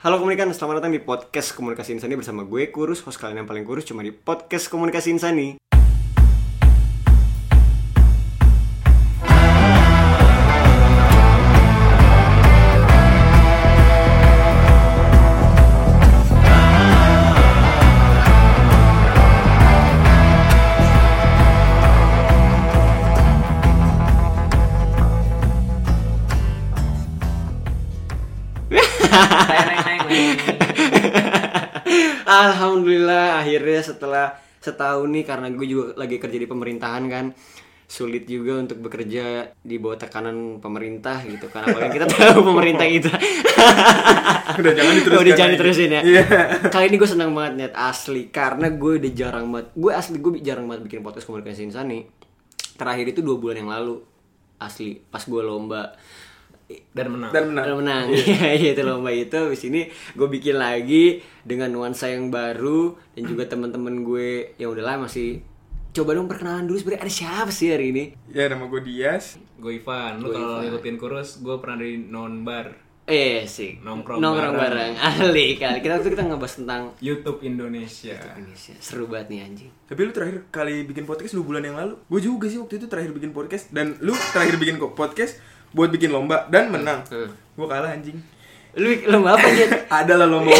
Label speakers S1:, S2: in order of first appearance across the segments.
S1: Halo Komunikan, selamat datang di podcast Komunikasi Insani bersama gue Kurus, host kalian yang paling kurus cuma di podcast Komunikasi Insani.
S2: Neng, neng, neng, neng.
S1: Alhamdulillah akhirnya setelah setahun nih karena gue juga lagi kerja di pemerintahan kan sulit juga untuk bekerja di bawah tekanan pemerintah gitu kan apalagi kita tahu pemerintah itu
S3: Udah jangan diterusin.
S1: udah jangan diterusin ya
S3: Iya.
S1: kali ini gue senang banget net asli karena gue udah jarang banget gue asli gue jarang banget bikin podcast komunikasi insani terakhir itu dua bulan yang lalu asli pas gue lomba
S2: Dan menang.
S3: Dan menang.
S1: Udah menang. Iya, iya, itu lomba itu. Habis ini gue bikin lagi dengan nuansa yang baru dan juga teman-teman gue yang udah lama sih. Coba dong perkenalan dulu sebenarnya ada siapa sih hari ini?
S3: Ya nama gue Dias.
S2: Gue Ivan, lu kalau ngikutin kurus, gue pernah dari non bar
S1: Eh sih.
S2: Nongkrong
S1: bareng. Ahli kali. Kita waktu itu kita ngebahas tentang
S2: YouTube Indonesia.
S1: Indonesia. Seru banget nih anjing.
S3: Tapi lu terakhir kali bikin podcast dua bulan yang lalu. Gue juga sih waktu itu terakhir bikin podcast dan lu terakhir bikin kok podcast buat bikin lomba dan menang.
S1: Hmm.
S3: Gue kalah anjing.
S1: Lu lomba apa Jet?
S3: Ada lah lomba.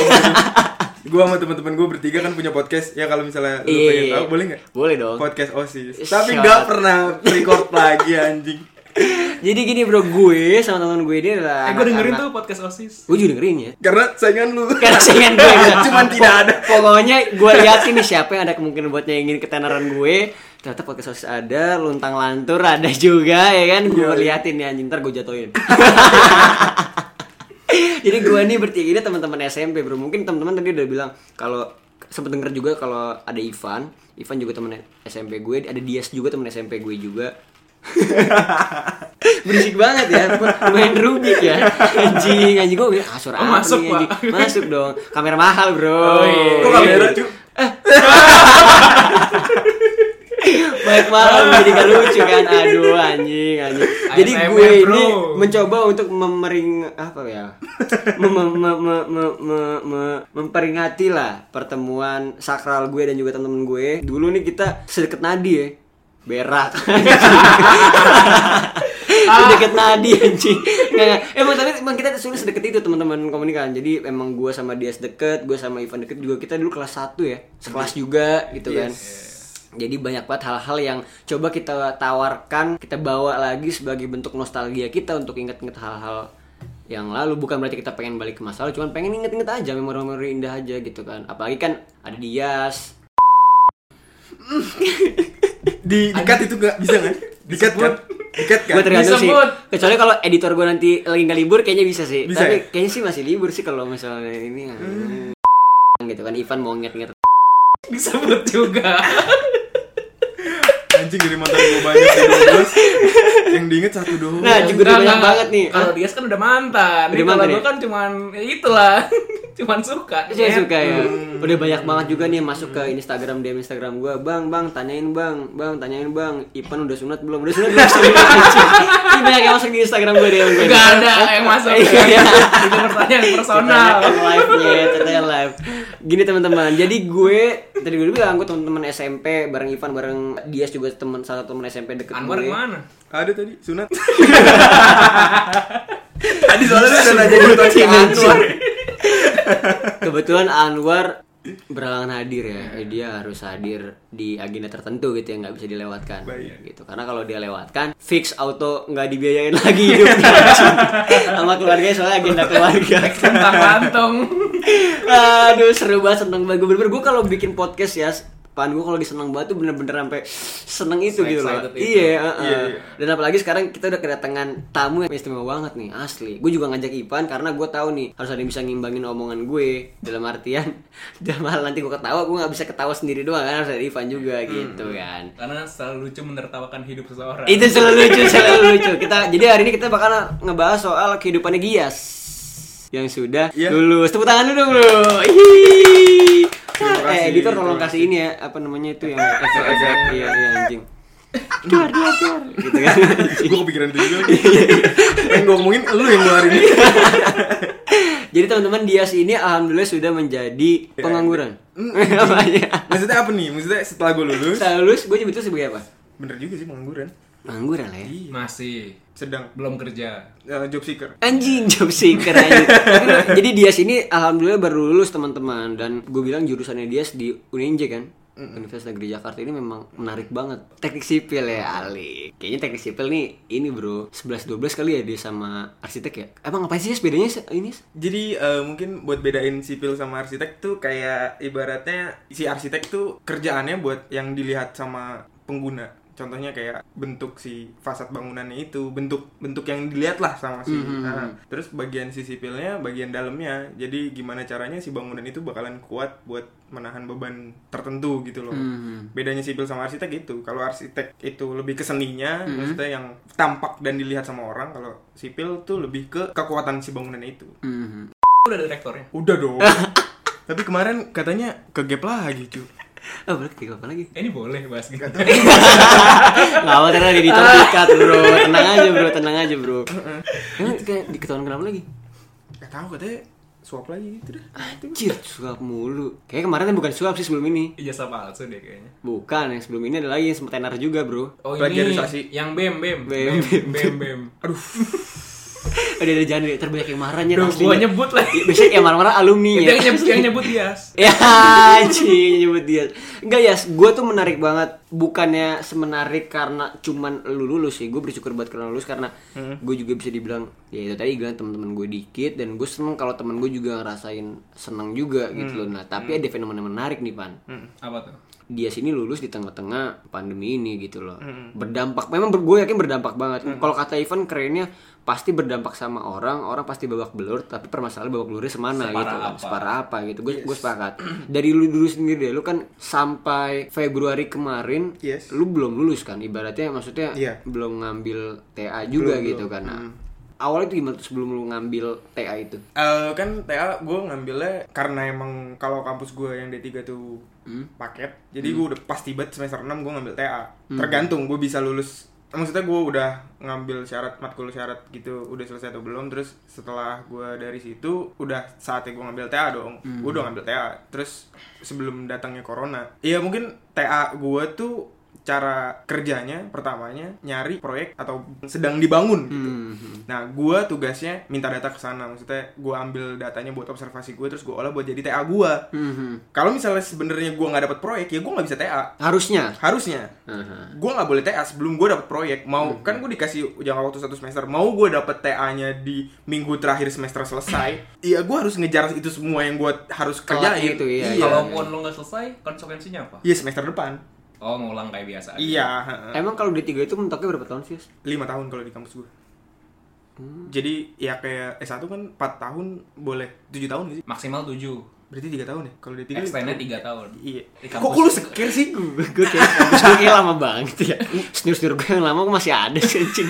S3: gue sama teman-teman gue bertiga kan punya podcast. Ya kalau misalnya lu pengen
S1: Iya.
S3: tahu boleh nggak?
S1: Boleh dong.
S3: Podcast osis.
S1: Shut
S3: Tapi
S1: up.
S3: nggak pernah record lagi anjing.
S1: Jadi gini bro, gue sama teman gue ini adalah
S2: Eh, gue dengerin
S1: anak-anak-
S2: tuh podcast OSIS.
S1: Gue juga dengerin ya.
S3: Karena saingan lu.
S1: Karena saingan gue enggak.
S3: Cuman tidak ada.
S1: Pokoknya gue liatin nih siapa yang ada kemungkinan buat nyanyiin ketenaran gue. Ternyata pakai sosis ada, luntang lantur ada juga ya kan. Gue liatin nih anjing ntar gue jatuhin. Jadi gue nih bertiga ini teman-teman SMP bro. Mungkin teman-teman tadi udah bilang kalau sempet denger juga kalau ada Ivan, Ivan juga temen SMP gue, ada Dias juga temen SMP gue juga. Berisik banget ya, main Rubik ya Anjing, anjing gue bilang kasur
S2: Oh,
S1: apa
S2: masuk,
S1: nih, anjing?"
S2: Pak.
S1: Masuk dong, kamera mahal bro
S2: Oh, iya.
S3: Kok kamera cu?
S1: Baik malam jadi gak lucu kan Aduh anjing anjing Jadi
S2: ASMR,
S1: gue ini
S2: bro.
S1: mencoba untuk memering Apa ya Mem- mem- mem- mem- mem- mem- mem- Memperingati lah pertemuan sakral gue dan juga temen-temen gue Dulu nih kita sedekat nadi ya Berak Sedekat nadi anjing Nggak, nggak. Emang tapi emang kita sulit sedekat itu teman-teman komunikan Jadi emang gue sama dia sedekat Gue sama Ivan deket juga Kita dulu kelas 1 ya Sekelas juga gitu kan jadi banyak banget hal-hal yang coba kita tawarkan, kita bawa lagi sebagai bentuk nostalgia kita untuk inget-inget hal-hal yang lalu bukan berarti kita pengen balik ke masa lalu, cuman pengen inget-inget aja memori-memori indah aja gitu kan. Apalagi kan ada Dias.
S3: Di dikat itu nggak bisa kan? Dikat kan? Dikat kan?
S1: Gue tergantung sih.
S2: Disebut.
S1: Kecuali kalau editor gue nanti lagi nggak libur kayaknya bisa sih.
S3: Bisa
S1: Tapi
S3: ya?
S1: kayaknya sih masih libur sih kalau misalnya ini hmm. gitu kan Ivan mau inget-inget
S2: Disebut juga.
S3: Anjing dari mantan gue banyak sih, 12. Yang diinget satu doang.
S1: Nah, juga udah
S2: Enggak,
S1: banyak
S2: enggak.
S1: banget nih.
S2: Kalau Dias kan udah mantan.
S1: Udah
S2: Ini kalau
S1: mantan
S2: gue
S1: ya?
S2: kan cuman ya itulah. cuman suka.
S1: Saya
S2: Nyet.
S1: suka ya.
S2: Hmm.
S1: Udah banyak banget juga nih yang masuk ke Instagram DM Instagram gua, "Bang, Bang, tanyain Bang, Bang, tanyain Bang, Ipan udah sunat belum? Udah sunat belum?" Anjing. Ini banyak yang masuk di Instagram gua DM gua.
S2: Iya. Enggak ada yang masuk.
S1: Iya, iya.
S2: Itu pertanyaan personal.
S1: Ternyata live-nya, ternyata live. Gini teman-teman, jadi gue tadi gue bilang gue teman-teman SMP bareng Ivan bareng Dias juga teman salah satu teman SMP deket
S2: Anwar
S1: gue.
S2: kemana?
S3: Ada tadi sunat. tadi soalnya udah nanya gitu
S1: Sebutin
S3: kan.
S1: anjing. Kebetulan Anwar berhalangan hadir ya. Eh, Dia harus hadir di agenda tertentu gitu yang nggak bisa dilewatkan.
S3: Baik.
S1: Gitu. Karena kalau dia lewatkan, fix auto nggak dibiayain lagi hidupnya anjing. sama keluarganya soalnya agenda keluarga.
S2: Tentang kantong.
S1: Aduh seru banget seneng banget. Gue bener-bener gue kalau bikin podcast ya Pan gue kalau diseneng banget tuh bener-bener sampai seneng itu gitu loh.
S2: Se-excited itu.
S1: Iya, uh-uh.
S3: Iya, iya.
S1: Dan apalagi sekarang kita udah kedatangan tamu yang istimewa banget nih, asli. Gue juga ngajak Ipan karena gue tahu nih harus ada yang bisa ngimbangin omongan gue dalam artian dalam hal nanti gue ketawa gue nggak bisa ketawa sendiri doang kan harus ada Ivan juga
S3: Hmm,
S1: gitu kan.
S2: Karena selalu lucu menertawakan hidup seseorang.
S1: Itu selalu lucu, selalu lucu. Kita jadi hari ini kita bakal ngebahas soal kehidupannya Gias yang sudah
S3: Iya.
S1: lulus. Tepuk tangan dulu, Bro. Hihi.
S3: Terima kasih,
S1: Eh, editor tolong
S3: terima
S1: kasih ini ya, apa namanya itu yang efek-efek iya iya anjing. Duar, duar, duar. Gitu kan.
S3: Gue kepikiran itu juga. Yang gue ngomongin lu yang ngeluarin.
S1: Jadi teman-teman Dias ini alhamdulillah sudah menjadi
S3: Iya.
S1: pengangguran.
S3: Mm.
S1: Apa aja?
S3: Maksudnya apa nih? Maksudnya setelah gue lulus,
S1: Setelah lulus gue nyebutnya sebagai apa?
S3: bener juga sih pengangguran.
S1: Pengangguran lah ya.
S2: Masih
S3: Sedang
S2: belum kerja.
S3: eh, job seeker.
S1: Anjing job seeker aja. Jadi Dias ini alhamdulillah baru lulus teman-teman dan gue bilang jurusannya Dias di UNJ kan. Universitas Negeri Jakarta ini memang menarik banget. Teknik sipil ya Ali. Kayaknya teknik sipil nih ini bro 11 12 kali ya dia sama arsitek ya. Emang apa sih Yas bedanya se- ini? Yas?
S3: Jadi eh, mungkin buat bedain sipil sama arsitek tuh kayak ibaratnya si arsitek tuh kerjaannya buat yang dilihat sama pengguna. Contohnya kayak bentuk si fasad bangunannya itu, bentuk bentuk yang dilihat lah sama si. Nah, terus bagian si sipilnya, bagian dalamnya. Jadi gimana caranya si bangunan itu bakalan kuat buat menahan beban tertentu gitu loh. Bedanya sipil sama arsitek gitu. Kalau arsitek itu lebih ke seninya, maksudnya yang tampak dan dilihat sama orang. Kalau sipil tuh lebih ke kekuatan si bangunan itu.
S1: Mhm.
S2: Udah ada direktornya.
S3: Udah dong. Tapi kemarin katanya ke gap lagi, cu.
S1: Ah, berarti tiga apa lagi?
S2: Eh, ini boleh bahas gitu.
S1: Nggak apa karena di terpikat bro Tenang aja bro, tenang aja bro Emang kayak diketahuan kenapa lagi?
S3: Gak tahu katanya suap lagi gitu deh.
S1: Anjir, suap mulu Kayaknya kemarin kan bukan suap sih sebelum ini
S2: Ijazah palsu deh kayaknya.
S1: Bukan, yang sebelum ini ada lagi yang sempat tenar juga bro
S2: Oh
S3: Plagiarisasi.
S2: ini yang BEM BEM
S1: BEM,
S2: BEM BEM. BEM.
S3: Aduh,
S1: Udah ada jangan deh, terbanyak yang marahnya
S2: Duh, gua nyebut lagi.
S1: Biasanya yang marah-marah alumni
S2: Itu
S1: ya
S2: yang nyebut yang nyebut Dias.
S1: Ya anjing nyebut dia Enggak ya, gue tuh menarik banget Bukannya semenarik karena cuman lu lulus sih Gue bersyukur banget karena lulus Karena gue juga bisa dibilang Ya itu tadi bilang temen-temen gue dikit Dan gue seneng kalau temen gue juga ngerasain seneng juga gitu loh Nah tapi ada fenomena menarik nih Pan
S2: Apa tuh?
S1: dia sini lulus di tengah-tengah pandemi ini gitu loh berdampak memang ber- gue yakin berdampak banget kalau kata Ivan kerennya pasti berdampak sama orang orang pasti babak belur tapi permasalahan babak belurnya semana gitu kan. separah apa gitu gue gue sepakat dari lu dulu sendiri deh lu kan sampai Februari kemarin
S3: Yes.
S1: lu belum lulus kan ibaratnya maksudnya
S3: Iya.
S1: belum ngambil TA juga gitu kan Nah, awalnya itu gimana tuh sebelum lu ngambil TA itu
S3: Eh, kan TA gue ngambilnya karena emang kalau kampus gue yang D3 tuh paket. Jadi gue udah pasti banget semester 6 gue ngambil TA. Tergantung gue bisa lulus Maksudnya gue udah ngambil syarat matkul syarat gitu udah selesai atau belum terus setelah gue dari situ udah saatnya gue ngambil TA dong gue udah ngambil TA terus sebelum datangnya corona iya mungkin TA gue tuh cara kerjanya pertamanya nyari proyek atau sedang dibangun gitu.
S1: Hmm.
S3: Nah, gua tugasnya minta data ke sana. Maksudnya gua ambil datanya buat observasi gue terus gua olah buat jadi TA gua. Kalau misalnya sebenarnya gua nggak dapat proyek, ya gua nggak bisa TA.
S1: harusnya
S3: Harusnya
S1: Aha.
S3: gua nggak boleh TA sebelum gua dapat proyek.
S1: Hmm.
S3: Mau kan gua dikasih jangka waktu satu semester. Mau gua dapat TA-nya di minggu terakhir semester selesai. Iya, gua harus ngejar itu semua yang gua harus
S1: Telat
S3: kerjain.
S1: gitu, iya,
S3: iya.
S2: Kalaupun lo nggak selesai, konsekuensinya apa?
S3: Iya, semester depan.
S2: Oh, ngulang kayak biasa. aja.
S3: Iya, heeh.
S1: emang kalau D3 itu mentoknya berapa tahun sih Yus?
S3: lima tahun kalau di kampus gue jadi ya kayak S1 kan 4 tahun boleh 7 tahun gak sih?
S2: Maksimal 7.
S3: Berarti 3 tahun ya? Kalau di 3
S2: Extendnya 3 tahun.
S3: Iya
S2: Di
S3: Kok
S2: kampus.
S3: lu sekir sih?
S1: gue gue kayak kampus gue kayak lama banget ya senior senior gue yang lama gue masih ada sih anjing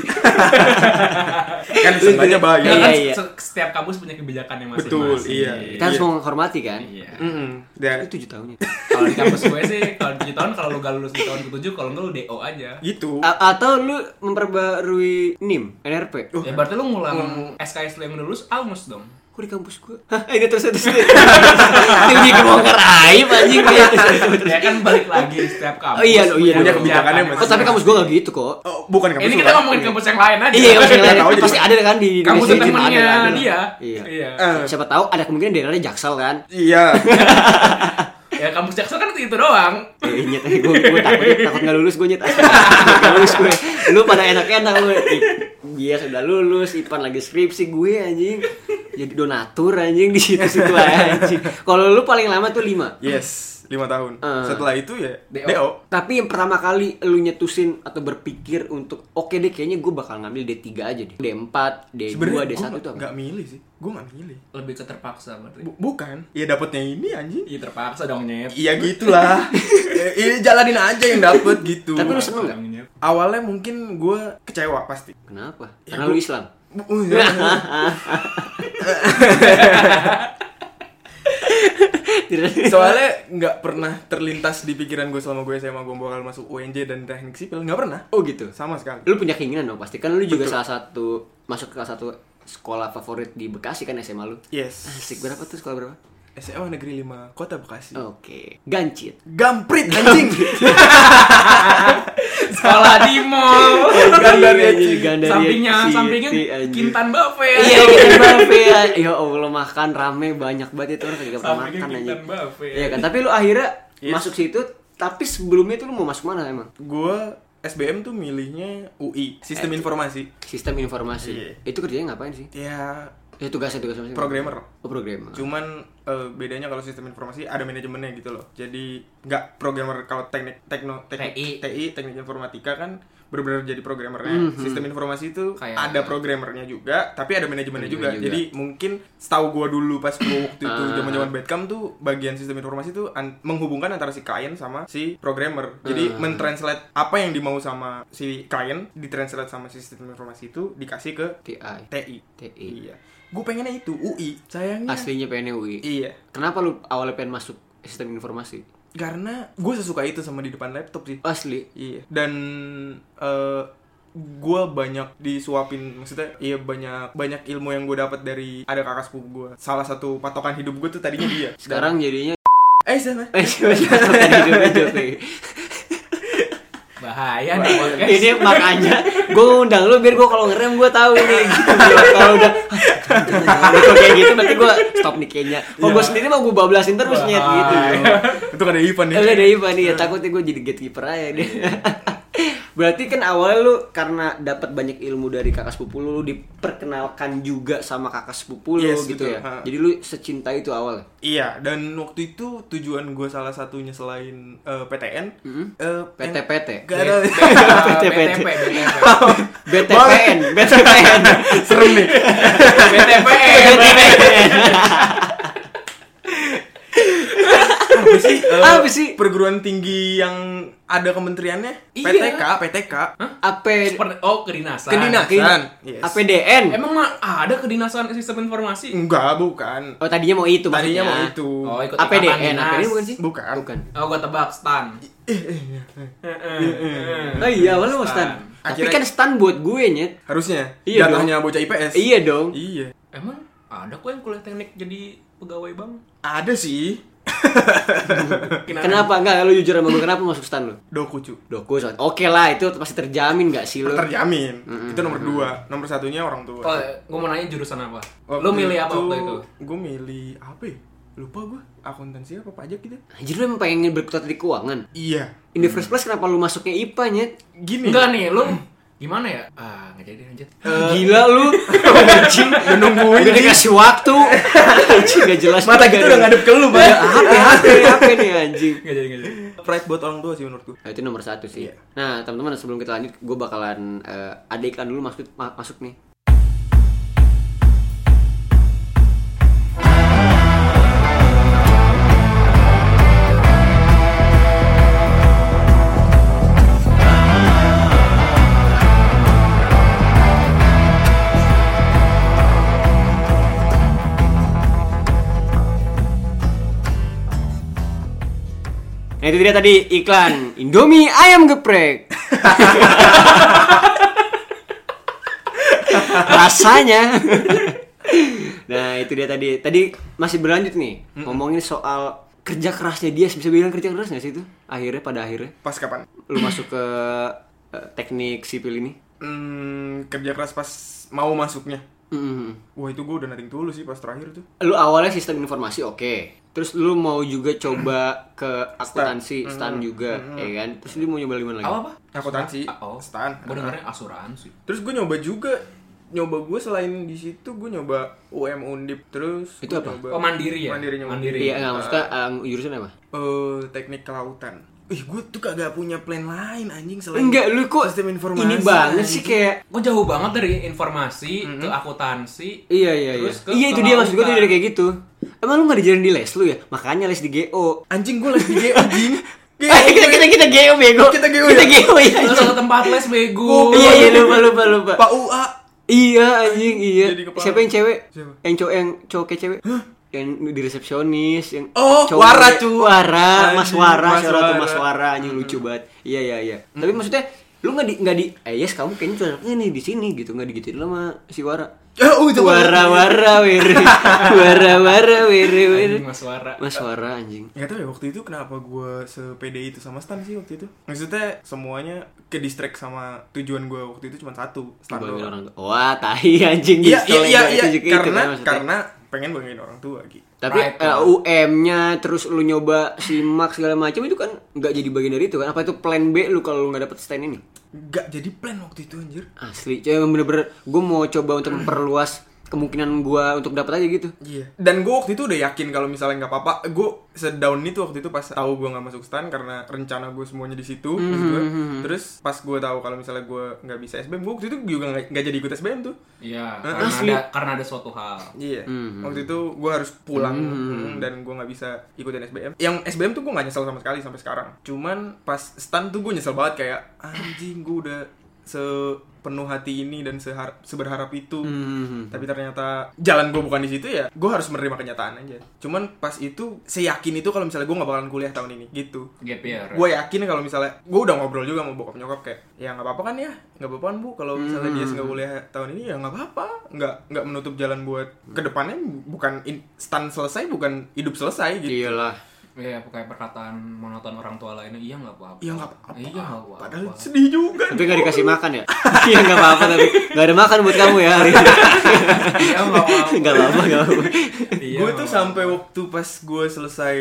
S3: kan sebenarnya
S1: Iya,
S2: Ya,
S3: bahaya
S2: kan
S1: iya.
S2: se- Setiap kampus punya kebijakan yang masing-masing.
S3: Betul, iya.
S1: kita harus menghormati kan
S2: Iya.
S3: Mm-mm. Dan
S1: itu tujuh tahunnya
S2: Kalau di kampus gue sih, kalau 7 tahun, kalau lu gak lulus di tahun ke-7, kalau enggak lu DO aja.
S3: gitu
S1: A- atau lu memperbarui nim nrp
S3: Oh.
S2: Ya berarti lu ngulang SKS lu yang lulus, almus dong.
S1: kok di kampus gue hah ini terus terus terus tinggi kebongkar aib anjing gue terus terus, terus.
S2: ya kan balik lagi setiap kampus.
S1: Oh iya, oh iya.
S2: punya
S1: Punya
S3: kebijakannya
S2: kebijakan
S1: oh tapi kampus gue gak gitu kok
S3: Oh, Bukan kampus
S2: Ini
S3: lu,
S2: kita
S3: kan?
S2: ngomongin kampus yang lain aja.
S1: Iya, kampus yang
S3: Nggak tahu
S1: lain
S3: jadi-
S1: pasti ada kan di
S2: Kampus
S1: Indonesia juga
S2: temennya
S1: ada lah.
S2: dia.
S1: Iya.
S2: Iya.
S3: Eh,
S1: Siapa tahu ada kemungkinan daerahnya Jaksel kan?
S3: Iya
S2: Ya kampus Jaksel kan itu doang.
S1: Eh, nyet, eh, gue gue takut takut nggak lulus gue nyet. eh, Nggak lulus gue. Lu pada enak-enak lu. Ih, Dia iya, sudah lulus, Ipan lagi skripsi gue anjing. Jadi donatur anjing di situ-situ aja, anjing. Kalau lu paling lama tuh 5.
S3: Iya, Yes 5 tahun
S1: Eh.
S3: Setelah itu ya
S2: DO.
S3: DO
S1: Tapi yang pertama kali lu nyetusin atau berpikir untuk oke deh kayaknya gue bakal ngambil D3 aja deh. D4, D2,
S3: Sebenarnya
S1: D1
S3: gue
S1: tuh apa?
S3: gak milih sih Gue gak milih
S2: Lebih ke terpaksa berarti.
S3: Bu- Bukan Ya dapetnya ini anjing
S2: Iya terpaksa dong nyet.
S3: Iya gitulah Ya, Iya jalanin aja yang dapet gitu
S1: Tapi lu seneng gak?
S2: Dong, Nyet.
S3: Awalnya mungkin gue kecewa pasti
S1: Kenapa?
S3: Ya,
S1: Karena
S3: gua-
S1: lu Islam.
S3: Bu- uh, ya. soalnya nggak pernah terlintas di pikiran gue selama gue SMA gue bakal masuk UNJ dan teknik sipil nggak pernah
S1: Oh gitu.
S3: sama sekali
S1: Lu punya keinginan dong pasti kan lu juga salah satu masuk ke salah satu sekolah favorit di Bekasi kan SMA lu
S3: Yes.
S1: asik Oh. berapa tuh sekolah berapa
S3: SMA Negeri 5 Kota Bekasi.
S1: oke gancit
S3: Gamprit anjing.
S2: Sekolah di mall.
S3: Gandari
S1: Iya, iya,
S3: anjing.
S1: Gandari
S2: sampingnya,
S1: Citi,
S2: sampingnya
S1: anjing.
S2: Kintan Buffet.
S1: iya Kintan Buffet ya ya Allah makan rame banyak banget itu orang kagak pernah
S2: Sampingnya
S1: makan aja
S2: Kintan Buffet.
S1: iya kan tapi lu akhirnya
S3: Yes.
S1: masuk situ tapi sebelumnya itu lu mau masuk mana emang
S3: Gua SBM tuh milihnya UI, Sistem Informasi.
S1: sistem informasi
S3: Iya.
S1: itu kerjanya ngapain sih
S3: Ya,
S1: ya tugasnya tugasnya masing-masing.
S3: programmer.
S1: oh programmer
S3: Cuman eh, bedanya kalau sistem informasi ada manajemennya gitu loh. Jadi nggak programmer kalau teknik tekno teknik
S2: TI.
S3: teknik informatika kan benar-benar jadi programmernya. Sistem informasi itu
S2: Kayak-
S3: ada programmernya juga, tapi ada manajemennya juga.
S1: Manajemen juga.
S3: Jadi mungkin setahu gua dulu pas gua waktu itu
S1: Ah.
S3: zaman-zaman Badcam tuh bagian sistem informasi itu an- menghubungkan antara si klien sama si programmer. Jadi mentranslate apa yang dimau sama si klien ditranslate sama si sistem informasi itu dikasih ke
S1: TI
S3: TI.
S1: TI.
S3: Iya. Gue pengennya itu UI. Sayangnya
S1: aslinya pengen UI
S3: Iya,
S1: kenapa lu awalnya pengen masuk sistem informasi
S3: karena gue sesuka itu sama di depan laptop sih.
S1: asli
S3: Iya. Dan eh gue banyak disuapin, maksudnya iya banyak banyak ilmu yang gue dapat dari ada kakak sepupu gue. Salah satu patokan hidup gue tuh tadinya dia.
S1: sekarang jadinya
S3: Dan- eh sana.
S1: eh coba coba, coba,
S3: Iya,
S1: coba.
S2: Bahaya nih
S1: iya.
S2: podcast.
S1: ini makanya gue undang lu biar gue kalau ngerem gue tahu nih gitu. Biar kalau udah "Ah, jangan, jangan, jangan." Kalau kayak gitu nanti gue stop nih kayaknya kalau
S3: Iya.
S1: gue sendiri mau gue bablasin terus nyet gitu
S3: itu kan ada Ivan nih.
S1: Eh, udah dari Ivan ya takutnya gue jadi gatekeeper aja deh. Berarti kan awalnya lu karena dapat banyak ilmu dari kakak sepupu lu, lu diperkenalkan juga sama kakak sepupu lu
S3: Yes,
S1: gitu
S3: betul.
S1: ya.
S3: Ha.
S1: Jadi lu secinta itu awalnya.
S3: Iya, dan waktu itu tujuan gue salah satunya selain eh, PTN, eh, yang-
S1: PT-PT.
S3: Gak ada.
S2: BTP,
S1: BTP.
S2: BTP.
S1: BTPN, BTPN.
S3: Seru nih.
S2: BTP.
S3: apa sih? Eh,
S1: Apa sih?
S3: Perguruan tinggi yang ada kementeriannya?
S2: Iya.
S3: PTK, PTK.
S1: AP
S2: Per- Oh, kedinasan.
S3: Kedinasan. Yes.
S1: APDN.
S2: Emang mah ada kedinasan sistem
S1: Hmm.
S2: informasi?
S3: Enggak, bukan.
S1: Oh, tadinya mau itu
S3: Tadinya mau
S1: maksudnya.
S3: itu.
S2: Oh, ikut ikatan
S1: APDN,
S2: dinas.
S1: APDN Eh, bukan sih?
S3: Bukan.
S1: Bukan.
S2: Oh, gua tebak stan.
S1: Oh iya, awalnya mau stan. Tapi
S3: Akhirnya-
S1: kan stan buat gue nyet.
S3: Harusnya.
S1: Iya
S3: Jatuhnya bocah IPS.
S1: Iya dong.
S3: Iya.
S2: Emang ada kok yang kuliah teknik jadi pegawai bank?
S3: Ada sih.
S1: Kenapa enggak lu jujur sama gue kenapa masuk stan lu?
S3: Dokucu.
S1: Doku soal- Oke lah itu pasti terjamin gak sih lu?
S3: Terjamin. Itu nomor dua. Nomor satunya orang tua.
S2: Oh, gue mau nanya jurusan apa? Lo Oh, milih apa waktu itu?
S3: Gue milih apa ya? Lupa gue. Akuntansi apa pajak gitu?
S1: Anjir lu emang pengen berkutat di keuangan?
S3: Iya.
S1: In the first place kenapa lu masuknya IPA nyet?
S3: Gini.
S2: Enggak nih, lo gimana ya? Ah, nggak jadi lanjut.
S1: Eh,
S3: Eh,
S1: Gila lu Anjing
S3: nungguin,
S1: Udah dikasih waktu Anjing gak jelas juga
S3: Mata kita
S1: nih.
S3: udah ngadep ke lu, Bang.
S1: Udah, HP, HP, HP nih anjing
S2: Nggak jadi, nggak jadi.
S3: Pride buat orang tua sih menurut gue.
S1: Nah, itu nomor satu sih.
S3: Iya.
S1: Nah, teman-teman sebelum kita lanjut, gue bakalan eh, ada iklan dulu masuk ma- masuk nih. Nah itu dia tadi iklan Indomie ayam geprek. Rasanya. nah itu dia tadi. Tadi masih berlanjut nih ngomongin soal kerja kerasnya dia. Bisa bilang kerja keras nggak sih itu? Akhirnya pada akhirnya
S3: Pas kapan?
S1: lu masuk ke eh, teknik sipil ini.
S3: Hmm, kerja keras pas mau masuknya.
S1: Mm.
S3: Wah itu gue udah nating dulu sih pas terakhir tuh.
S1: Lu awalnya sistem informasi oke. Terus lu mau juga coba ke akuntansi, stan juga, ya kan? Terus lu mau nyoba lima lagi.
S2: Apa apa?
S3: Akuntansi.
S2: Ah, Oh,
S3: Stan.
S2: Gue dengernya asuransi.
S3: Terus gue nyoba juga nyoba gue selain di situ gue nyoba UM Undip terus
S1: Itu apa?
S3: gua nyoba
S2: Oh, mandiri ya?
S3: mandiri nyoba.
S2: Mandiri.
S1: Iya, nggak maksudnya eh, jurusan apa?
S3: Eh, teknik kelautan ih gue tuh kagak punya plan lain anjing selain
S1: Enggak, lu kok
S3: sistem informasi
S1: ini banget sih kayak
S3: anjing.
S2: Gue jauh banget dari informasi ke akuntansi.
S1: Iya iya iya.
S2: Terus ke
S1: Iya itu dia maksud gue tuh
S2: kelautan.
S1: dari kayak gitu. Emang lu gak diajarin di les lu ya? Makanya les di GO.
S3: anjing gue lagi GO anjing
S1: Eh, kita kita kita GO bego.
S3: Iya, Kita GO ya?
S1: Kita GO ya.
S2: Terus satu tempat les bego.
S1: Iya iya lupa lupa lupa.
S3: Pak UA
S1: Iya anjing iya.
S3: Jadi kepala.
S1: Siapa yang cewek?
S3: Siapa?
S1: Yang cowok yang cowok kayak cewek? Yang di resepsionis yang
S3: Oh,
S1: cowok-
S3: Wara, cu.
S1: Wara, Mas
S3: Anjing,
S1: Wara,
S3: Mas
S1: Sarah tuh
S3: Wara.
S1: Mas Wara anjing lucu banget. Iya iya iya. Tapi maksudnya lu nggak di nggak di eh yes kamu kayaknya cocoknya nih di sini gitu nggak digituin lu sama si Wara
S3: Oh, itu
S1: Wara Wara wiri Wara Wara wiri wiri
S2: Anjing, Mas Wara.
S1: Mas Wara anjing
S3: Gak tau ya waktu itu kenapa gue sepede itu sama Stan sih waktu itu Maksudnya semuanya ke distract sama tujuan gue waktu itu cuma satu Stan
S1: Bangin
S3: doang
S1: orang tua. Wah tahi anjing
S3: Iya
S1: gitu.
S3: iya iya
S1: Itu
S3: iya
S1: juga itu kan
S3: karena
S1: maksudnya.
S3: karena pengen banggain orang tua gitu
S1: tapi
S2: Pride
S1: eh,
S2: lah.
S1: UM-nya terus lu nyoba simak segala macam itu kan nggak jadi bagian dari itu kan apa itu plan B lu kalau lu nggak dapet stand ini
S3: Gak jadi plan waktu itu anjir
S1: asli cuy emang bener-bener gue mau coba untuk memperluas kemungkinan gue untuk dapet aja gitu
S3: Iya. Dan gue waktu itu udah yakin kalau misalnya nggak apa-apa, gue sedown itu waktu itu pas tahu gue nggak masuk stan karena rencana gue semuanya di
S1: Hmm,
S3: situ. maksud gue. Terus pas gue tahu kalau misalnya gue nggak bisa SBM, gue waktu itu juga nggak nggak jadi ikut SBM tuh.
S2: Iya,
S1: Eh, asli.
S2: karena ada, karena ada suatu hal.
S3: Iya. Waktu itu gue harus pulang mm, dan gue nggak bisa ikutin SBM. Yang SBM tuh gue nggak nyesel sama sekali sampai sekarang. Cuman pas stan tuh gue nyesel banget kayak anjing gue udah sepenuh hati ini dan sehar- seberharap itu
S1: Mhm. Hmm.
S3: tapi ternyata jalan gue bukan di situ ya gue harus menerima kenyataan aja cuman pas itu saya yakin itu kalau misalnya gue nggak bakalan kuliah tahun ini gitu
S2: Gap year.
S3: gue yakin kalau misalnya gue udah ngobrol juga sama bokap nyokap kayak ya nggak apa-apa kan ya nggak apa-apa kan, bu kalau misalnya
S2: Hmm.
S3: dia nggak kuliah tahun ini ya nggak apa-apa nggak nggak menutup jalan buat kedepannya bukan instan selesai bukan hidup selesai gitu
S1: iyalah
S2: Iya, pakai perkataan monoton orang tua lainnya, iya nggak apa-apa.
S3: ya nggak apa-apa
S2: Iya nggak apa-apa.
S3: padahal sedih juga
S1: tapi nggak dikasih makan ya iya nggak apa-apa tapi nggak ada makan buat kamu ya hari ini
S2: Iya nggak apa-apa.
S1: nggak apa-apa nggak apa-apa
S2: Iya, nggak
S3: gue tuh
S2: apa-apa.
S3: sampai waktu pas gue selesai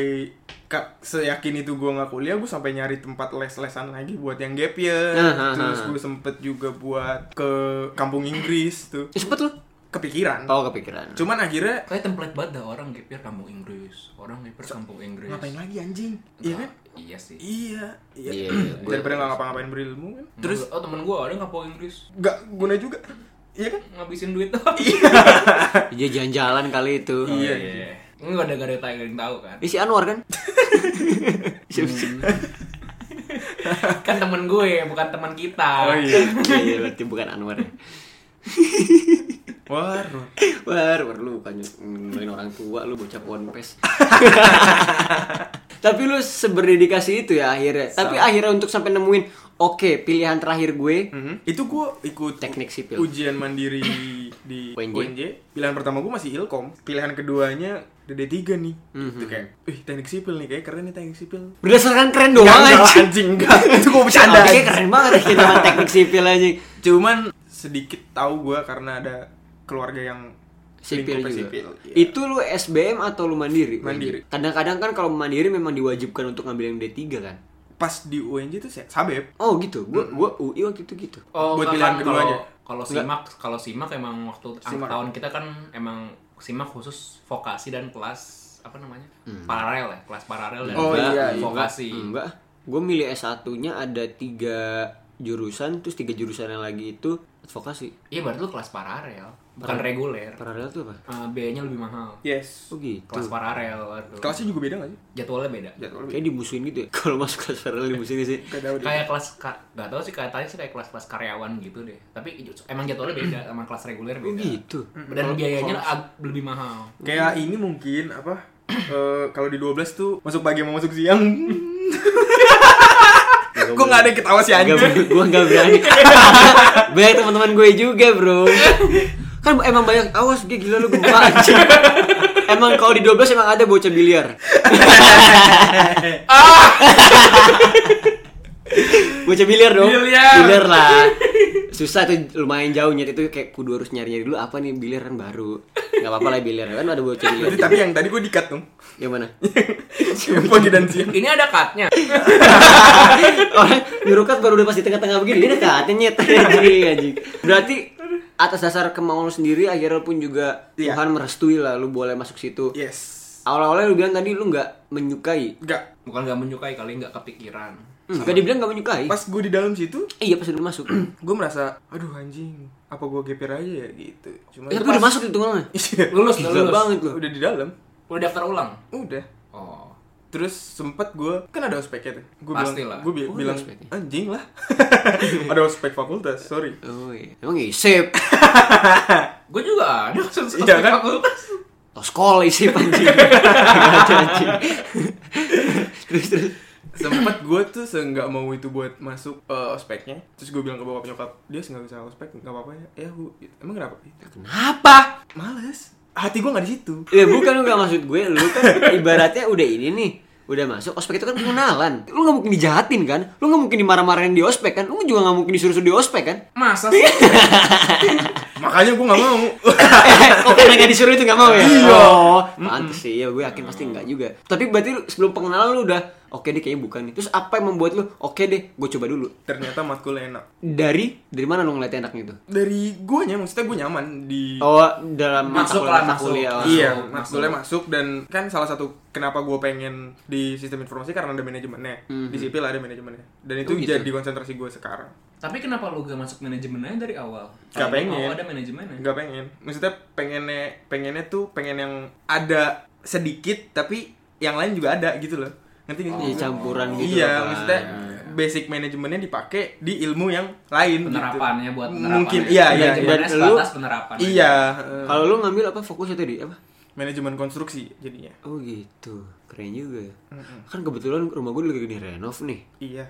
S3: ka- seyakin itu gue nggak kuliah gue sampai nyari tempat les-lesan lagi buat yang gap year
S1: Ah, ah,
S3: terus
S1: ah.
S3: gue sempet juga buat ke kampung Inggris tuh
S1: cepet lu
S2: Oh.
S3: kepikiran
S1: tahu kepikiran
S3: cuman akhirnya
S2: Kayak template banget dah orang gap year kampung Inggris, orang gap year kampung Inggris.
S3: ngapain lagi anjing
S2: Nggak,
S3: iya kan
S2: Iya sih.
S3: iya iya
S1: Iya, iya, iya.
S3: daripada nggak ngapa-ngapain berilmu kan
S2: Terus oh temen gue ada kampung Inggris
S3: nggak guna juga iya kan
S2: ngabisin duit tuh.
S1: dia jalan-jalan kali itu
S3: Iya.
S2: Ini gak ada gak ada yang tahu- nggak ada yang tahu kan.
S1: ini si Anwar kan Iya,
S2: Kan temen gue bukan teman kita.
S3: Oh,
S1: Iya, iya berarti bukan Anwar ya
S3: waru
S1: War, war lu bukan ngelain orang tua, lu bocah ponpes. Tapi lu seberdedikasi itu ya akhirnya. Tapi akhirnya untuk sampai nemuin, oke pilihan terakhir gue.
S3: Mhm. itu gue ikut
S1: Teknik sipil.
S3: ujian mandiri di
S1: UNJ.
S3: UNJ pilihan pertama gue masih ilkom pilihan keduanya DD3 nih itu kayak ih teknik sipil nih kayak keren nih teknik sipil
S1: Berdasarkan Mhm. keren
S3: Enggak,
S1: doang
S3: enggak,
S1: aja.
S3: anjing enggak itu gue bercanda
S1: Oke
S3: anjing.
S1: keren banget ya kita sama teknik sipil aja.
S3: cuman sedikit tahu gue karena ada keluarga yang
S1: Sipil
S3: lingkupnya
S1: juga.
S3: sipil. Iya.
S1: Itu lu SBM atau lu mandiri?
S3: Mandiri.
S1: Kadang-kadang kan kalau mandiri memang diwajibkan untuk ngambil yang D3 kan.
S3: pas di UNJ tuh saya sabep
S1: Oh gitu. Gua gua UI waktu itu gitu.
S2: Oh,
S3: Buat
S2: enggak
S3: pilihan
S2: kan,
S3: keduanya.
S2: kalau- Kalau simak, kalau simak emang waktu
S3: Simak.
S2: tahun kita kan emang simak khusus vokasi dan kelas apa namanya paralel ya, kelas paralel dan
S3: Oh,
S2: kelas
S3: iya, iya.
S2: vokasi.
S1: Enggak. Gue milih S1-nya ada tiga jurusan, terus tiga jurusan yang lagi itu advokasi.
S2: Iya berarti lu kelas paralel, bukan reguler.
S1: Paralel tuh apa?
S2: Eh, biayanya lebih mahal.
S3: yes
S1: Oh gitu.
S2: Kelas paralel. aduh.
S3: kelasnya juga beda gak sih
S2: jadwalnya beda.
S3: jadwal
S1: Kayak dimusuhin gitu ya. Kalau masuk kelas paralel dimusuhin sih.
S3: gak tahu deh
S2: Kayak kelas ka, gak tau sih katanya sih kayak kelas-kelas karyawan gitu deh. Tapi emang jadwalnya beda sama kelas reguler
S1: Oh
S2: beda.
S1: gitu.
S2: Dan biayanya ag- lebih mahal.
S3: kayak ini mungkin apa eh, kalau di 12 tuh masuk pagi mau masuk siang gue gak ada yang ketawa si
S1: Gak,
S3: anjing
S1: gue gak berani Banyak teman-teman gue juga bro Kan emang banyak Awas dia gila lu gempa anjing Emang kalau di 12 emang ada bocah biliar Bocah biliar dong
S2: Biliar.
S1: lah Susah tuh lumayan jauhnya Itu kayak kudu harus nyari-nyari dulu Apa nih biliar kan baru Gak apa-apa lah biliar Kan ada bocah biliar
S3: Berarti tapi yang tadi gue dikat dong
S1: Yang mana?
S3: Yang pagi dan siang
S2: Ini ada cutnya.
S1: Orang nyuruh cut baru udah pas di tengah-tengah begini dia dekatnya nyet anjing anjing. Berarti atas dasar kemauan lu sendiri akhirnya pun juga
S3: Iya.
S1: Tuhan merestui lah lu boleh masuk situ.
S3: yes
S1: Awal-awalnya lu bilang tadi lu nggak menyukai.
S3: Enggak,
S2: Bukan gak menyukai kali nggak kepikiran.
S1: Enggak dibilang nggak menyukai.
S3: Hmm. pas gue di dalam situ
S1: Iya pas udah masuk.
S3: gue merasa aduh anjing apa gue geper aja ya gitu cuma
S1: Eh, Tapi udah masuk itu tengahnya.
S2: Lulus, udah
S1: Gila
S2: lulus.
S1: banget lu.
S3: Iya, udah di dalam
S2: Udah daftar ulang.
S3: udah
S2: Oh.
S3: terus sempet gue kan ada ospeknya tuh gue
S2: Pastilah.
S3: bilang gue
S1: Oh, ada
S3: bilang
S1: ospeknya.
S3: anjing lah ada ospek fakultas sorry
S1: Oh iya. Emang isip.
S2: Gue juga ada khusus
S3: Iya, kan?
S2: fakultas.
S1: Oh, sekolah isip anjing. Nggak ada, anjing. terus terus.
S3: sempet gue tuh seenggak mau itu buat masuk eh, ospeknya terus gue bilang ke bokap nyokap dia nggak bisa ospek nggak apa-apa ya ya gue emang kenapa
S1: Kenapa?
S3: males hati gue nggak di situ
S1: Ya bukan enggak maksud gue, lu kan ibaratnya udah ini nih udah masuk ospek itu kan pengenalan lu nggak mungkin dijahatin kan lu nggak mungkin dimarah-marahin di ospek kan lu juga nggak mungkin disuruh-suruh di ospek kan
S2: Masa sih?
S3: makanya gue nggak mau
S1: eh, kok karena nggak disuruh itu nggak mau ya? Iya. Oh, pantes sih ya, gue yakin pasti nggak juga. Tapi berarti lu, sebelum pengenalan lu udah oke deh kayaknya bukan nih. Terus apa yang membuat lu oke deh, gue coba dulu.
S3: ternyata matkulnya enak
S1: Dari dari mana lu ngeliatnya enaknya itu?
S3: dari gue nya maksudnya gue nyaman di
S1: Oh, dalam mata
S2: Masuk
S1: kuliah-
S2: lah,
S1: mata
S2: masuk.
S1: kuliah.
S3: iya
S2: masuk.
S3: matkulnya masuk dan kan salah satu kenapa gue pengen di sistem informasi karena ada manajemennya di sipil ada manajemennya dan itu
S1: Mhm. Oh, gitu.
S3: jadi konsentrasi gue sekarang
S2: Tapi kenapa lu gak masuk manajemennya dari awal?
S3: Gak pengen.
S2: Oh, ada manajemennya.
S3: nggak pengen maksudnya pengennya pengennya tuh pengen yang ada sedikit tapi yang lain juga ada gitu loh nanti
S1: Iya, campuran gitu
S3: iya
S1: loh, Pak.
S3: maksudnya basic manajemennya dipakai di ilmu yang lain gitu.
S2: Penerapannya buat penerapannya.
S3: mungkin iya iya iya
S2: Manajemennya
S1: Dan lu-
S2: sebatas penerapan.
S3: iya eh,
S1: Kalau lu ngambil apa fokusnya tadi? Apa?
S3: manajemen konstruksi jadinya
S1: Oh gitu, keren juga. ya. Kan kebetulan rumah gue lagi direnov nih.
S3: iya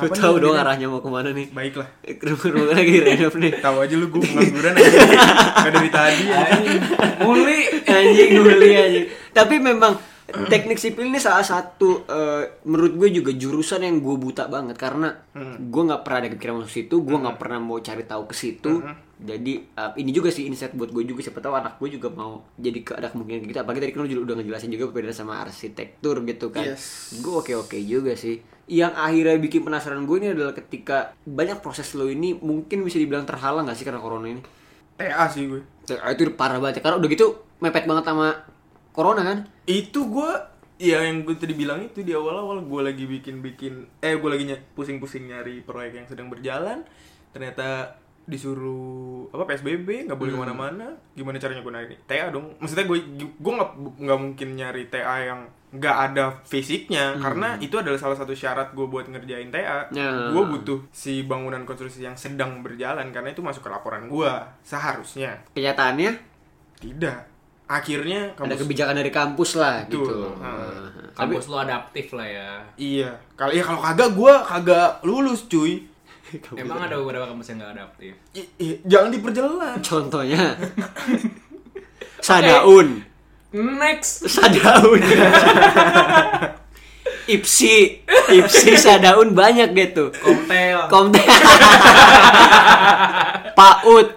S1: Lu
S3: Apa
S1: tahu
S3: nih
S1: dong
S3: bedanya?
S1: arahnya mau kemana nih?
S3: baiklah
S1: Eh, Rumah rumah gue lagi direnov nih.
S3: tahu aja lu gue pengangguran aja nggak dari tadi aja
S2: Muli.
S1: anjing nguli anjing tapi memang teknik sipil ini salah satu eh, menurut gue juga jurusan yang gue buta banget karena gue nggak pernah ada kepikiran masuk situ gue nggak pernah mau cari tahu ke situ jadi eh, ini juga sih insight buat gue juga siapa tahu anak gue juga mau jadi ke ada kemungkinan gitu apalagi tadi kan lu juga udah ngejelasin juga perbedaan sama arsitektur gitu kan
S3: Yes.
S1: gue oke oke juga sih yang akhirnya bikin penasaran gue ini adalah ketika banyak proses lo ini mungkin bisa dibilang terhalang gak sih karena corona ini
S3: TA Eh, sih gue
S1: Ya, itu parah banget ya. karena udah gitu mepet banget sama corona kan
S3: itu gue ya yang gue tadi bilang itu di awal-awal gue lagi bikin-bikin eh gue lagi ny- pusing-pusing nyari proyek yang sedang berjalan ternyata disuruh apa PSBB
S1: Hmm.
S3: nggak boleh kemana-mana gimana caranya gue nyari TA dong maksudnya gue gue nggak nggak mungkin nyari TA yang nggak ada fisiknya karena itu adalah salah satu syarat gue buat ngerjain TA
S1: Hmm. Ya.
S3: gue butuh si bangunan konstruksi yang sedang berjalan karena itu masuk ke laporan gue seharusnya
S1: kenyataannya
S3: tidak akhirnya
S1: ada
S3: kampus
S1: kebijakan dari kampus lah
S3: Betul.
S1: gitu
S3: Nah.
S1: tapi
S2: Kampus lu adaptif lah ya.
S3: Iya. Kalau ya kalau kagak gua kagak lulus, cuy.
S2: Emang ada beberapa kampus yang gak adaptif.
S3: I- i- jangan diperjelas.
S1: contohnya sadaun
S2: Next.
S1: sadaun ipsi ipsi sadaun banyak deh tuh
S2: Komtel.
S1: Kom- paut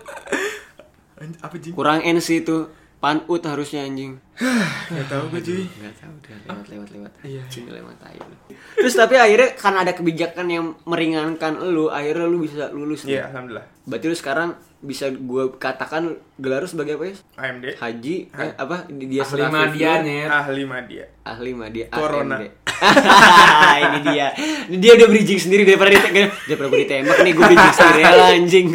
S3: Anj- Apa sih?
S1: kurang nc itu panut harusnya anjing
S3: Gak tau gue cuy.
S1: Gak tahu udah lewat lewat lewat.
S3: Iya.
S1: Cing lewat aja. Oh. Terus tapi akhirnya karena ada kebijakan yang meringankan lu, akhirnya lu bisa lulus. nih.
S3: Iya, alhamdulillah.
S1: Berarti lu sekarang bisa gua katakan gelar lu sebagai apa ya?
S3: AMD
S1: Haji eh, apa di- dia
S2: Asli
S1: setelah
S2: Madian
S1: Fifth year.
S2: Iya, ya.
S3: ahli media.
S1: Ahli Madian
S3: Corona.
S1: AMD. ini dia. Ini dia udah bridging sendiri daripada ditembak. Daripada gue ditembak nih gue bridging sendiri ya lah, anjing.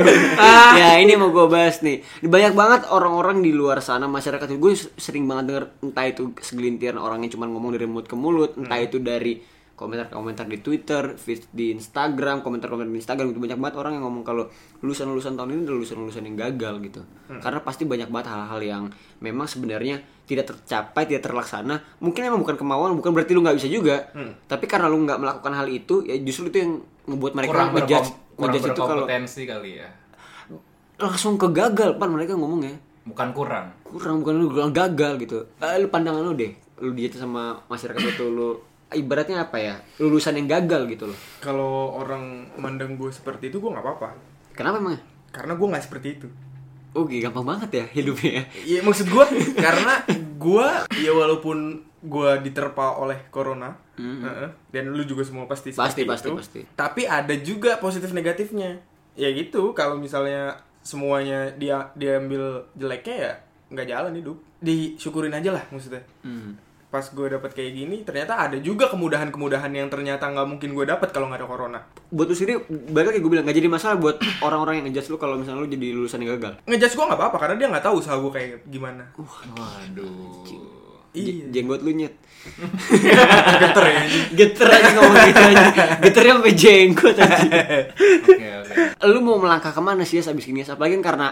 S1: ya ini mau gue bahas nih. Banyak banget orang-orang di luar sana masyarakat gue sering banget denger entah itu segelintir orang yang cuma ngomong dari mulut ke mulut, entah itu dari komentar-komentar di Twitter, feed di Instagram, komentar-komentar di Instagram gitu banyak banget orang yang ngomong kalau lulusan-lulusan tahun ini adalah lulusan-lulusan yang gagal gitu.
S2: Hmm.
S1: Karena pasti banyak banget hal-hal yang memang sebenarnya tidak tercapai, tidak terlaksana. Mungkin emang bukan kemauan, bukan berarti lu nggak bisa juga.
S2: Hmm.
S1: Tapi karena lu nggak melakukan hal itu, ya justru itu yang ngebuat mereka
S2: Kurang
S1: ngejudge,
S2: berkom- kurang
S1: ngejudge itu kalau
S2: berkompetensi kali ya.
S1: langsung ke gagal pan mereka ngomong ya.
S2: Bukan kurang.
S1: Kurang bukan lu bilang gagal gitu. Eh, lu pandangan lu deh, lu dijudge sama masyarakat itu lu ibaratnya apa ya? Lulusan yang gagal gitu loh.
S3: Kalau orang mandang gue seperti itu gue nggak apa-apa.
S1: Kenapa emang?
S3: Karena gue nggak seperti itu.
S1: Oke, gampang banget ya hidupnya ya.
S3: Iya maksud gue karena gue ya walaupun gue diterpa oleh corona heeh, dan lu juga semua pasti
S1: Hmm. Pasti,
S3: seperti
S1: pasti,
S3: itu,
S1: pasti.
S3: tapi ada juga positif negatifnya ya gitu kalau misalnya semuanya dia diambil jeleknya ya nggak jalan hidup disyukurin aja lah maksudnya pas gue dapat kayak gini ternyata ada juga kemudahan-kemudahan yang ternyata nggak mungkin gue dapat kalau nggak ada corona
S1: Buat lu sendiri, balik lagi gue bilang, gak jadi masalah buat orang-orang yang ngejudge lu kalau misalnya lu jadi lulusan yang gagal.
S3: ngejudge gue nggak apa-apa karena dia nggak tahu usaha gue kayak gimana
S1: Uh,
S2: Waduh.
S1: J- jenggot lu nyet.
S3: Iya. geter ya anjing.
S1: Geter aja ngomong gitu aja. Geternya sampai jenggot aja.
S2: Oke, oke. Hmm?
S1: lu mau melangkah kemana sih Yas abis ini Yas? Apalagi kan karena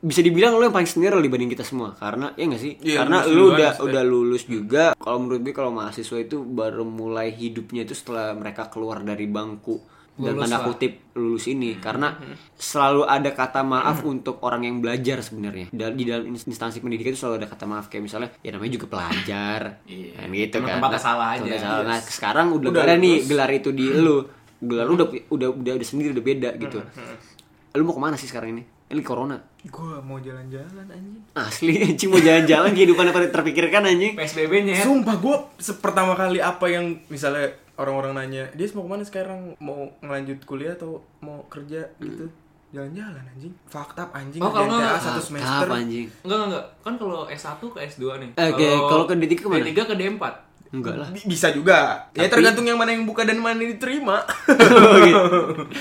S1: bisa dibilang lo yang paling senior dibanding kita semua karena ya nggak sih
S3: Iya,
S1: karena
S3: lulus
S1: lo
S3: duluan
S1: udah
S3: maksudnya.
S1: udah lulus
S2: Hmm.
S1: juga kalau menurut gue kalau mahasiswa itu baru mulai hidupnya itu setelah mereka keluar dari bangku dan
S2: Lulus
S1: tanda
S2: lah. Hmm.
S1: kutip lulus ini karena selalu ada kata maaf untuk orang yang belajar sebenarnya Dan di dalam ins- instansi pendidikan itu selalu ada kata maaf kayak misalnya ya namanya juga pelajar
S2: Iya.
S1: kan gitu kan
S2: Emang tempat
S1: Nah,
S2: salah
S1: tempat
S2: aja.
S1: salah. nah sekarang udah,
S3: Udah
S1: nggak ada nih
S3: lulus.
S1: gelar itu di lu gelar lu udah
S2: Hmm.
S1: udah udah, udah sendiri udah beda gitu lu mau kemana sih sekarang ini ini corona
S3: Gue mau jalan-jalan anjing.
S1: Asli anjing mau jalan-jalan kehidupan apa yang terpikirkan anjing.
S2: PSBB-nya ya,
S3: Sumpah gue pertama kali apa yang misalnya orang-orang nanya, dia mau kemana sekarang? Mau ngelanjut kuliah atau mau kerja gitu?
S1: Hmm.
S3: Jalan-jalan anjing. Fakta anjing.
S2: Oh, kalau
S3: kerjaan
S2: nggak-
S3: TA satu
S1: Tahap,
S3: semester.
S1: anjing.
S2: Enggak, enggak, enggak. Kan kalau S1 ke S2 nih.
S1: Eh, oke. Kalau ke D3 kemana?
S2: D3 ke D4.
S1: Enggak lah.
S3: Bi- Bisa juga.
S1: Tapi-
S3: Ya tergantung yang mana yang buka dan mana yang diterima.
S1: Gitu.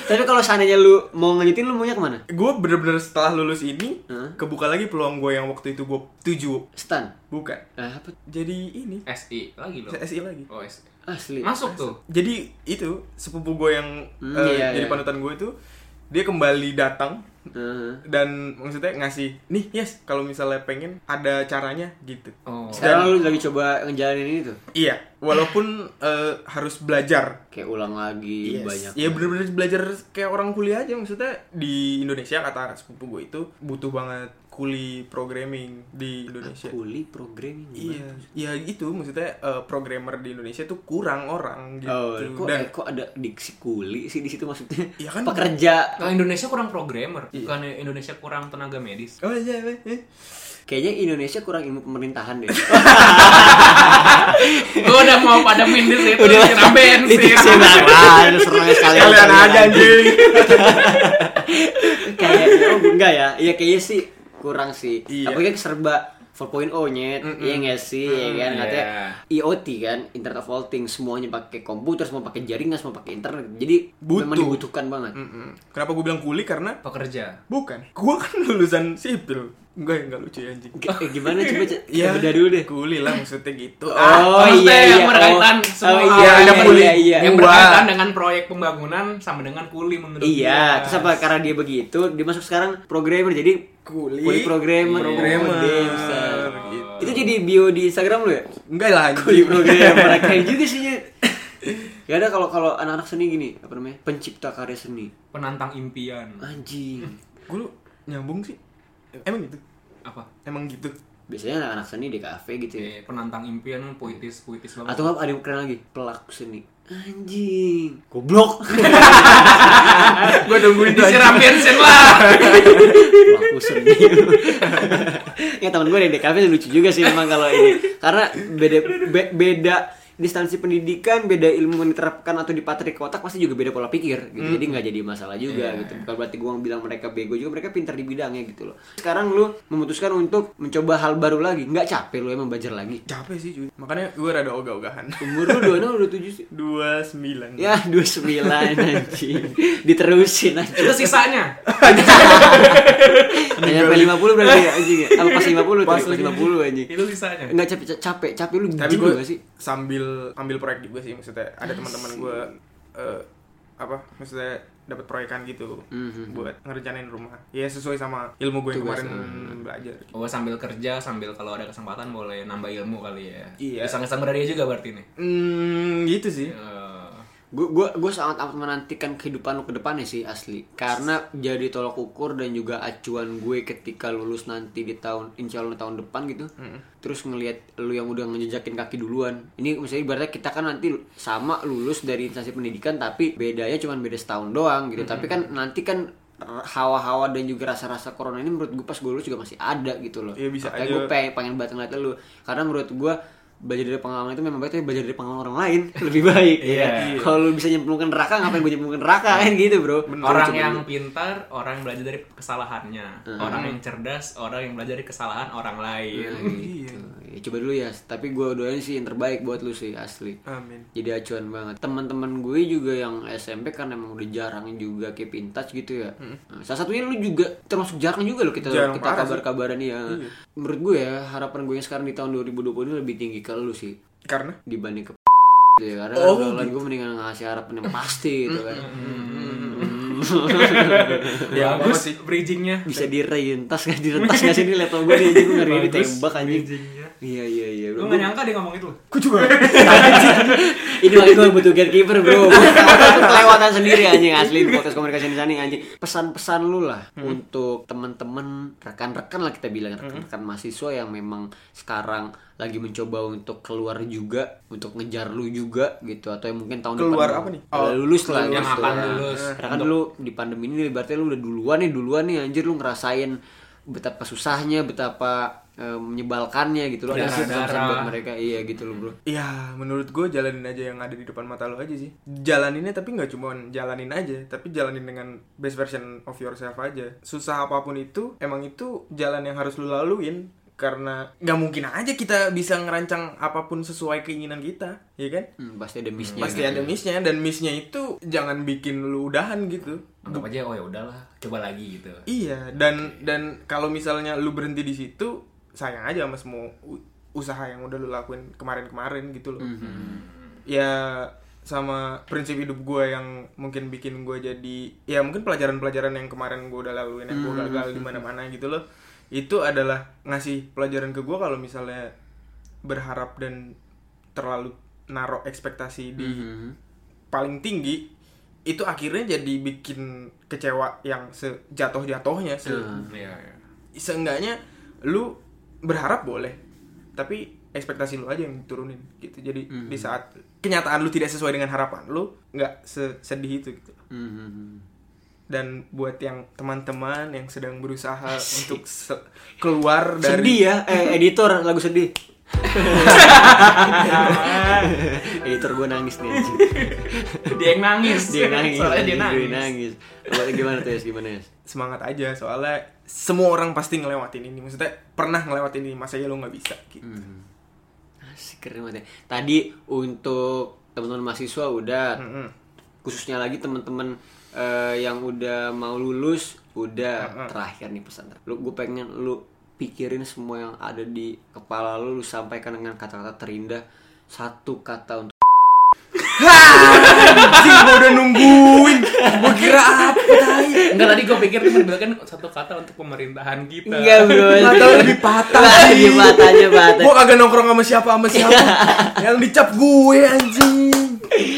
S1: Tapi kalau seandainya lu mau ngelanjutin lu maunya kemana?
S3: gue bener-bener setelah lulus ini
S1: Hah?
S3: kebuka lagi peluang gue yang waktu itu gue tuju
S1: Stan.
S3: bukan
S1: Eh, apa?
S3: jadi ini
S2: SI lagi loh.
S3: SI lagi
S2: Oh, SI.
S1: Asli.
S2: Masuk tuh.
S3: jadi itu sepupu gue yang
S1: Hmm,
S3: eh,
S1: iya, iya.
S3: jadi panutan gue itu dia kembali datang
S1: Heeh.
S3: dan maksudnya ngasih nih yes kalau misalnya pengen ada caranya gitu
S2: Oh.
S1: Sekarang lu lagi coba ngejalanin ini tuh.
S3: iya walaupun eh, harus belajar
S1: Kayak ulang lagi
S3: Yes.
S1: Iya, banyak.
S3: Ya bener-bener belajar kayak orang kuliah aja maksudnya di Indonesia kata sepupu gue itu butuh banget kuli programming di Indonesia.
S1: Kuli programming.
S3: Iya,
S1: gimana?
S3: ya itu maksudnya eh, programmer di Indonesia tuh kurang orang gitu.
S1: Oh, kok,
S3: Dan
S1: eh, kok ada diksi kuli sih di situ maksudnya?
S3: Iya kan?
S1: Pekerja.
S2: Kalau Indonesia kurang programmer,
S1: Iya.
S2: bukan Indonesia kurang tenaga medis.
S3: Oh iya, iya, iya.
S1: Kayaknya Indonesia kurang ilmu pemerintahan deh.
S2: Gue Oh, udah mau pada minus itu
S1: Udah
S2: kena bensin.
S1: Ditiksin apa? Serang sekali.
S3: Kalian aja anjing.
S1: kayaknya oh enggak ya iya kayaknya sih kurang sih
S3: Iya.
S1: apalagi kan serba 4.0 nyet iya nggak sih ya kan katanya
S3: iya.
S1: IoT kan internet of all things semuanya pakai komputer semua pakai jaringan semua pakai internet jadi memang
S3: Butuh. Mm.
S1: dibutuhkan banget
S3: Mm-mm. Kenapa gue bilang kuli karena
S2: Pekerja.
S3: bukan. Gue kan lulusan sipil. Enggak, enggak lucu ya anjing.
S1: G- eh, gimana coba c-
S3: Iya,
S1: kita beda dulu deh
S3: Kuli lah maksudnya gitu.
S1: Oh,
S2: Maksudnya
S1: iya,
S2: yang
S1: iya.
S2: berkaitan
S1: Oh,
S2: semua
S1: oh, iya,
S2: hal
S3: ada
S2: yang-
S3: kuli.
S2: yang
S3: Gua.
S2: berkaitan dengan proyek pembangunan sama dengan kuli menurut
S1: Iya,
S2: dia.
S1: terus apa karena dia begitu, dia masuk sekarang programmer jadi
S3: Kuli,
S1: kuli programmer.
S3: programmer.
S1: Oh, damn, son.
S3: Gitu.
S1: Itu jadi bio di Instagram lu ya?
S3: Enggak lah anjing.
S1: Kuli programmer Nah, kayak juga sih. Nyet. Gak ada kalau kalau anak-anak seni gini, apa namanya? Pencipta karya seni.
S2: Penantang impian.
S1: Anjing.
S3: Gue lu nyambung sih. Emang gitu.
S2: Apa?
S3: Emang gitu.
S1: Biasanya anak-anak seni di kafe gitu ya.
S3: Iya.
S2: Eh, penantang impian kan puitis puitis banget.
S1: Atau nggak ada yang keren lagi, pelaku seni. Anjing. Goblok.
S3: gue nungguin itu
S2: disiram bensin lah.
S1: pelaku seni. ya teman gue yang di kafe lucu juga sih memang kalau ini. Karena beda be- beda distansi pendidikan, beda ilmu yang diterapkan atau dipatri ke otak pasti juga beda pola pikir gitu. Jadi nggak jadi masalah juga gitu. Bukan berarti gue bilang mereka bego juga, mereka pintar di bidangnya gitu loh. Sekarang lu memutuskan untuk mencoba hal baru lagi, nggak capek lu emang belajar lagi.
S3: Capek sih cuy. Makanya gue rada ogah-ogahan.
S1: Umur lu 26 udah 7 sih.
S3: 29.
S1: Ya, 29 anjing. Diterusin
S2: Itu
S1: anjing.
S2: sisanya.
S1: Hanya sampai 50 berarti ya, anjing ya. Apa pas 50
S3: Pas
S1: tadi? Pas
S3: lagi.
S1: 50 anjing.
S2: Itu sisanya.
S1: Enggak capek capek, capek lu
S3: tapi
S1: gitu
S3: gue
S1: gak sih?
S3: sambil ambil proyek juga sih maksudnya ada teman-teman gue eh, apa maksudnya dapat proyekan gitu
S1: Mhm.
S3: buat ngerencanain rumah ya sesuai sama ilmu gue yang
S1: Tugas.
S3: kemarin belajar
S2: Oh sambil kerja sambil kalau ada kesempatan boleh nambah ilmu kali ya.
S3: Iya.
S2: Bisa ngesang dari dia juga berarti nih.
S3: hmm gitu sih
S2: Eh,
S1: Gue gue gue sangat amat menantikan kehidupan lu ke depannya sih asli. Karena jadi tolok ukur dan juga acuan gue ketika lulus nanti di tahun insya Allah tahun depan gitu. Terus ngelihat lu yang udah ngejejakin kaki duluan. Ini misalnya ibaratnya kita kan nanti sama lulus dari instansi pendidikan tapi bedanya cuman beda setahun doang gitu. Tapi kan nanti kan r- hawa-hawa dan juga rasa-rasa corona ini menurut gue pas gue lulus juga masih ada gitu loh.
S3: Iya, bisa
S1: Makanya
S3: aja.
S1: gue pengen, pengen banget ngeliat lu karena menurut gue belajar dari pengalaman itu memang baik tapi belajar dari pengalaman orang lain lebih baik ya.
S2: Iya.
S1: Kalau lu bisa nyemplungkan neraka ngapain gue nyemplungkan neraka kan
S3: Iya.
S1: gitu bro.
S2: Eh, orang yang pintar, orang yang belajar dari kesalahannya. Orang yang cerdas, orang yang belajar dari kesalahan orang lain.
S3: Iya.
S1: Gitu. Ya, coba dulu ya. Tapi gue doain sih yang terbaik buat lu sih asli.
S3: amin
S1: Jadi acuan banget. Teman-teman gue juga yang SMP kan emang udah jarang juga keep in touch gitu ya. Nah, salah satunya lu juga termasuk jarang juga lo kita
S3: Hmm. Jarang
S1: kita
S3: parah sih. Iya.
S1: kabar-kabaran ya. Menurut gue ya harapan gue yang sekarang di tahun 2020 ini lebih tinggi ke lu sih.
S3: karena
S1: dibanding ke gitu ya karena
S3: Oh, Hmm.
S1: kalau gue mendingan ngasih harapan yang pasti gitu kan
S3: Ya,
S2: bagus
S3: banget sih.
S2: bridgingnya
S1: bisa direntas nggak direntas nggak sih ini laptop gue nih anjing gue ngeri ini
S2: Bagus
S1: tembak anjing
S2: bridgingnya.
S1: iya iya iya
S2: Lu
S1: Gua-
S2: gak nyangka dia ngomong itu
S3: Gue juga.
S1: ini makanya gue butuh gatekeeper bro Gua kelewatan sendiri anjing asli di podcast komunikasi insani anjing pesan-pesan lu lah untuk teman-teman rekan-rekan lah kita bilang rekan-rekan mahasiswa yang memang sekarang lagi mencoba untuk keluar juga untuk ngejar lu juga gitu atau yang mungkin tahun
S3: Keluar
S1: depan
S3: apa nih? Oh,
S1: Eh, lulus lah
S2: Yang
S1: gitu.
S2: akan lulus.
S1: karena kan lu di pandemi ini berarti lu udah duluan nih duluan nih anjir lu ngerasain betapa susahnya betapa eh, menyebalkannya gitu loh ada sih
S2: Berdarah-darah.
S1: pesan-pesan buat mereka iya gitu loh bro
S3: Ya, menurut gue jalanin aja yang ada di depan mata lo aja sih. Jalaninnya tapi nggak cuma jalanin aja, tapi jalanin dengan best version of yourself aja. Susah apapun itu, emang itu jalan yang harus lo laluin karena nggak mungkin aja kita bisa ngerancang apapun sesuai keinginan kita, ya kan?
S1: Hmm, pasti ada miss
S3: Pasti ada miss-nya dan miss-nya itu jangan bikin lu udahan gitu.
S2: anggap aja oh ya udahlah coba lagi gitu
S3: Iya, dan dan kalau misalnya lu berhenti di situ, sayang aja sama semua u- usaha yang udah lu lakuin kemarin-kemarin gitu loh. Ya sama prinsip hidup gue yang mungkin bikin gue jadi ya mungkin pelajaran-pelajaran yang kemarin gue udah laluin yang gue gagal di mana-mana gitu loh itu adalah ngasih pelajaran ke gue kalau misalnya berharap dan terlalu naruh
S1: Mhm.
S3: ekspektasi
S1: Hmm.
S3: di paling tinggi itu akhirnya jadi bikin kecewa yang sejatuh-jatuhnya se
S1: Hmm.
S2: Iya, iya.
S3: seenggaknya lu berharap boleh tapi ekspektasi lu aja yang turunin gitu jadi
S1: Hmm.
S3: di saat kenyataan lu tidak sesuai dengan harapan lu nggak sesedih itu gitu
S1: Mhm.
S3: dan buat yang teman-teman yang sedang berusaha untuk se- keluar
S1: Sedih
S3: dari
S1: ya, eh, editor lagu sedih. editor gue nangis nih anjing.
S2: dia yang nangis
S1: Dia nangis,
S2: soalnya dia
S1: anjing,
S2: nangis,
S1: Gue nangis. Apa- Gimana tuh ya, gimana ya?
S3: semangat aja soalnya semua orang pasti ngelewatin ini maksudnya pernah ngelewatin ini masa ya lu nggak bisa gitu
S1: Asik keren banget ya. Tadi untuk teman-teman mahasiswa udah
S3: Mm-mm.
S1: khususnya lagi teman-teman eh, yang udah mau lulus udah terakhir nih pesan lu gue pengen lu pikirin semua yang ada di kepala lu lu sampaikan dengan kata-kata terindah satu kata untuk
S3: Anjing gua udah nungguin Gua kira apa tai
S2: Enggak tadi gue pikir dia menampilkan satu kata untuk pemerintahan kita.
S1: Enggak bro
S3: Nggak tahu lebih patah
S1: Iya patahnya patah
S3: Gua kagak nongkrong sama siapa sama siapa Yang dicap gue anjing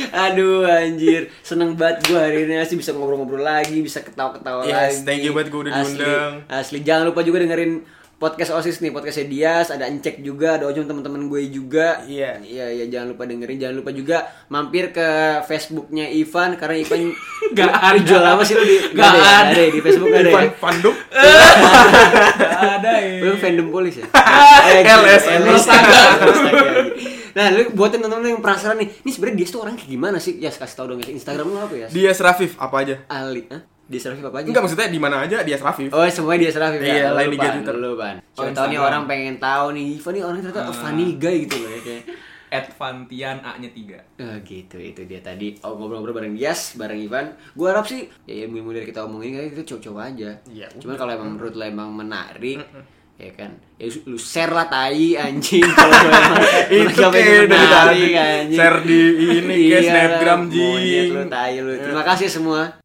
S1: Aduh anjir Seneng banget gue hari ini Asli bisa ngobrol-ngobrol lagi Bisa ketawa-ketawa
S3: Yes,
S1: lagi
S3: thank you banget gua udah
S1: Asli,
S3: diundang.
S1: Asli Jangan lupa juga dengerin podcast OSIS nih Podcastnya Dias Ada Encek juga Ada Ojong teman-teman gue juga
S3: Iya.
S1: Iya iya jangan lupa dengerin Jangan lupa juga Mampir ke Facebooknya Ivan Karena Ivan
S2: Gak ada.
S1: Jual apa sih lu di
S2: Gak
S1: ya?
S2: ada.
S1: Ada ya di Facebook ada ya
S3: Pan- Panduk
S2: ada ya.
S1: Lu fandom polis ya?
S3: LS.
S1: Astaga. Nah, lu buatin temen-temen yang penasaran nih. Ini sebenarnya dia tuh orang kayak gimana sih? Ya, kasih tau dong ya. Instagram lu apa ya?
S3: Dia Serafif apa aja
S1: Ali, Hah? Dia Serafif apa aja?
S3: Enggak maksudnya di mana aja dia Serafif
S1: Oh, semuanya dia Serafif ya?
S3: Iya, lain
S1: Lu,
S3: liga
S1: Pan,
S3: Twitter.
S1: Lu, Pan.
S2: Oh,
S1: Siapa tahu nih
S2: Instagram.
S1: orang pengen tahu nih. Ivan nih orang ternyata a funny guy gitu loh ya, kayak.
S2: At Vantian A-nya 3.
S1: Eh, gitu itu dia tadi oh, ngobrol-ngobrol bareng Dias bareng Ivan gue harap sih ya ilmu ilmu dari kita omongin kayak kita coba-coba aja
S3: Iya,
S1: cuman kalau emang menurut lo emang menarik ya kan ya lu share lah tai anjing kalau lo emang
S3: Itu
S1: menurut lo
S3: kayak
S1: emang
S3: dari
S1: menarik,
S3: tadi. Share di ini, kayak
S1: Iya,
S3: Snapgram,
S1: monyet
S3: jing.
S1: lu tai lu terima kasih semua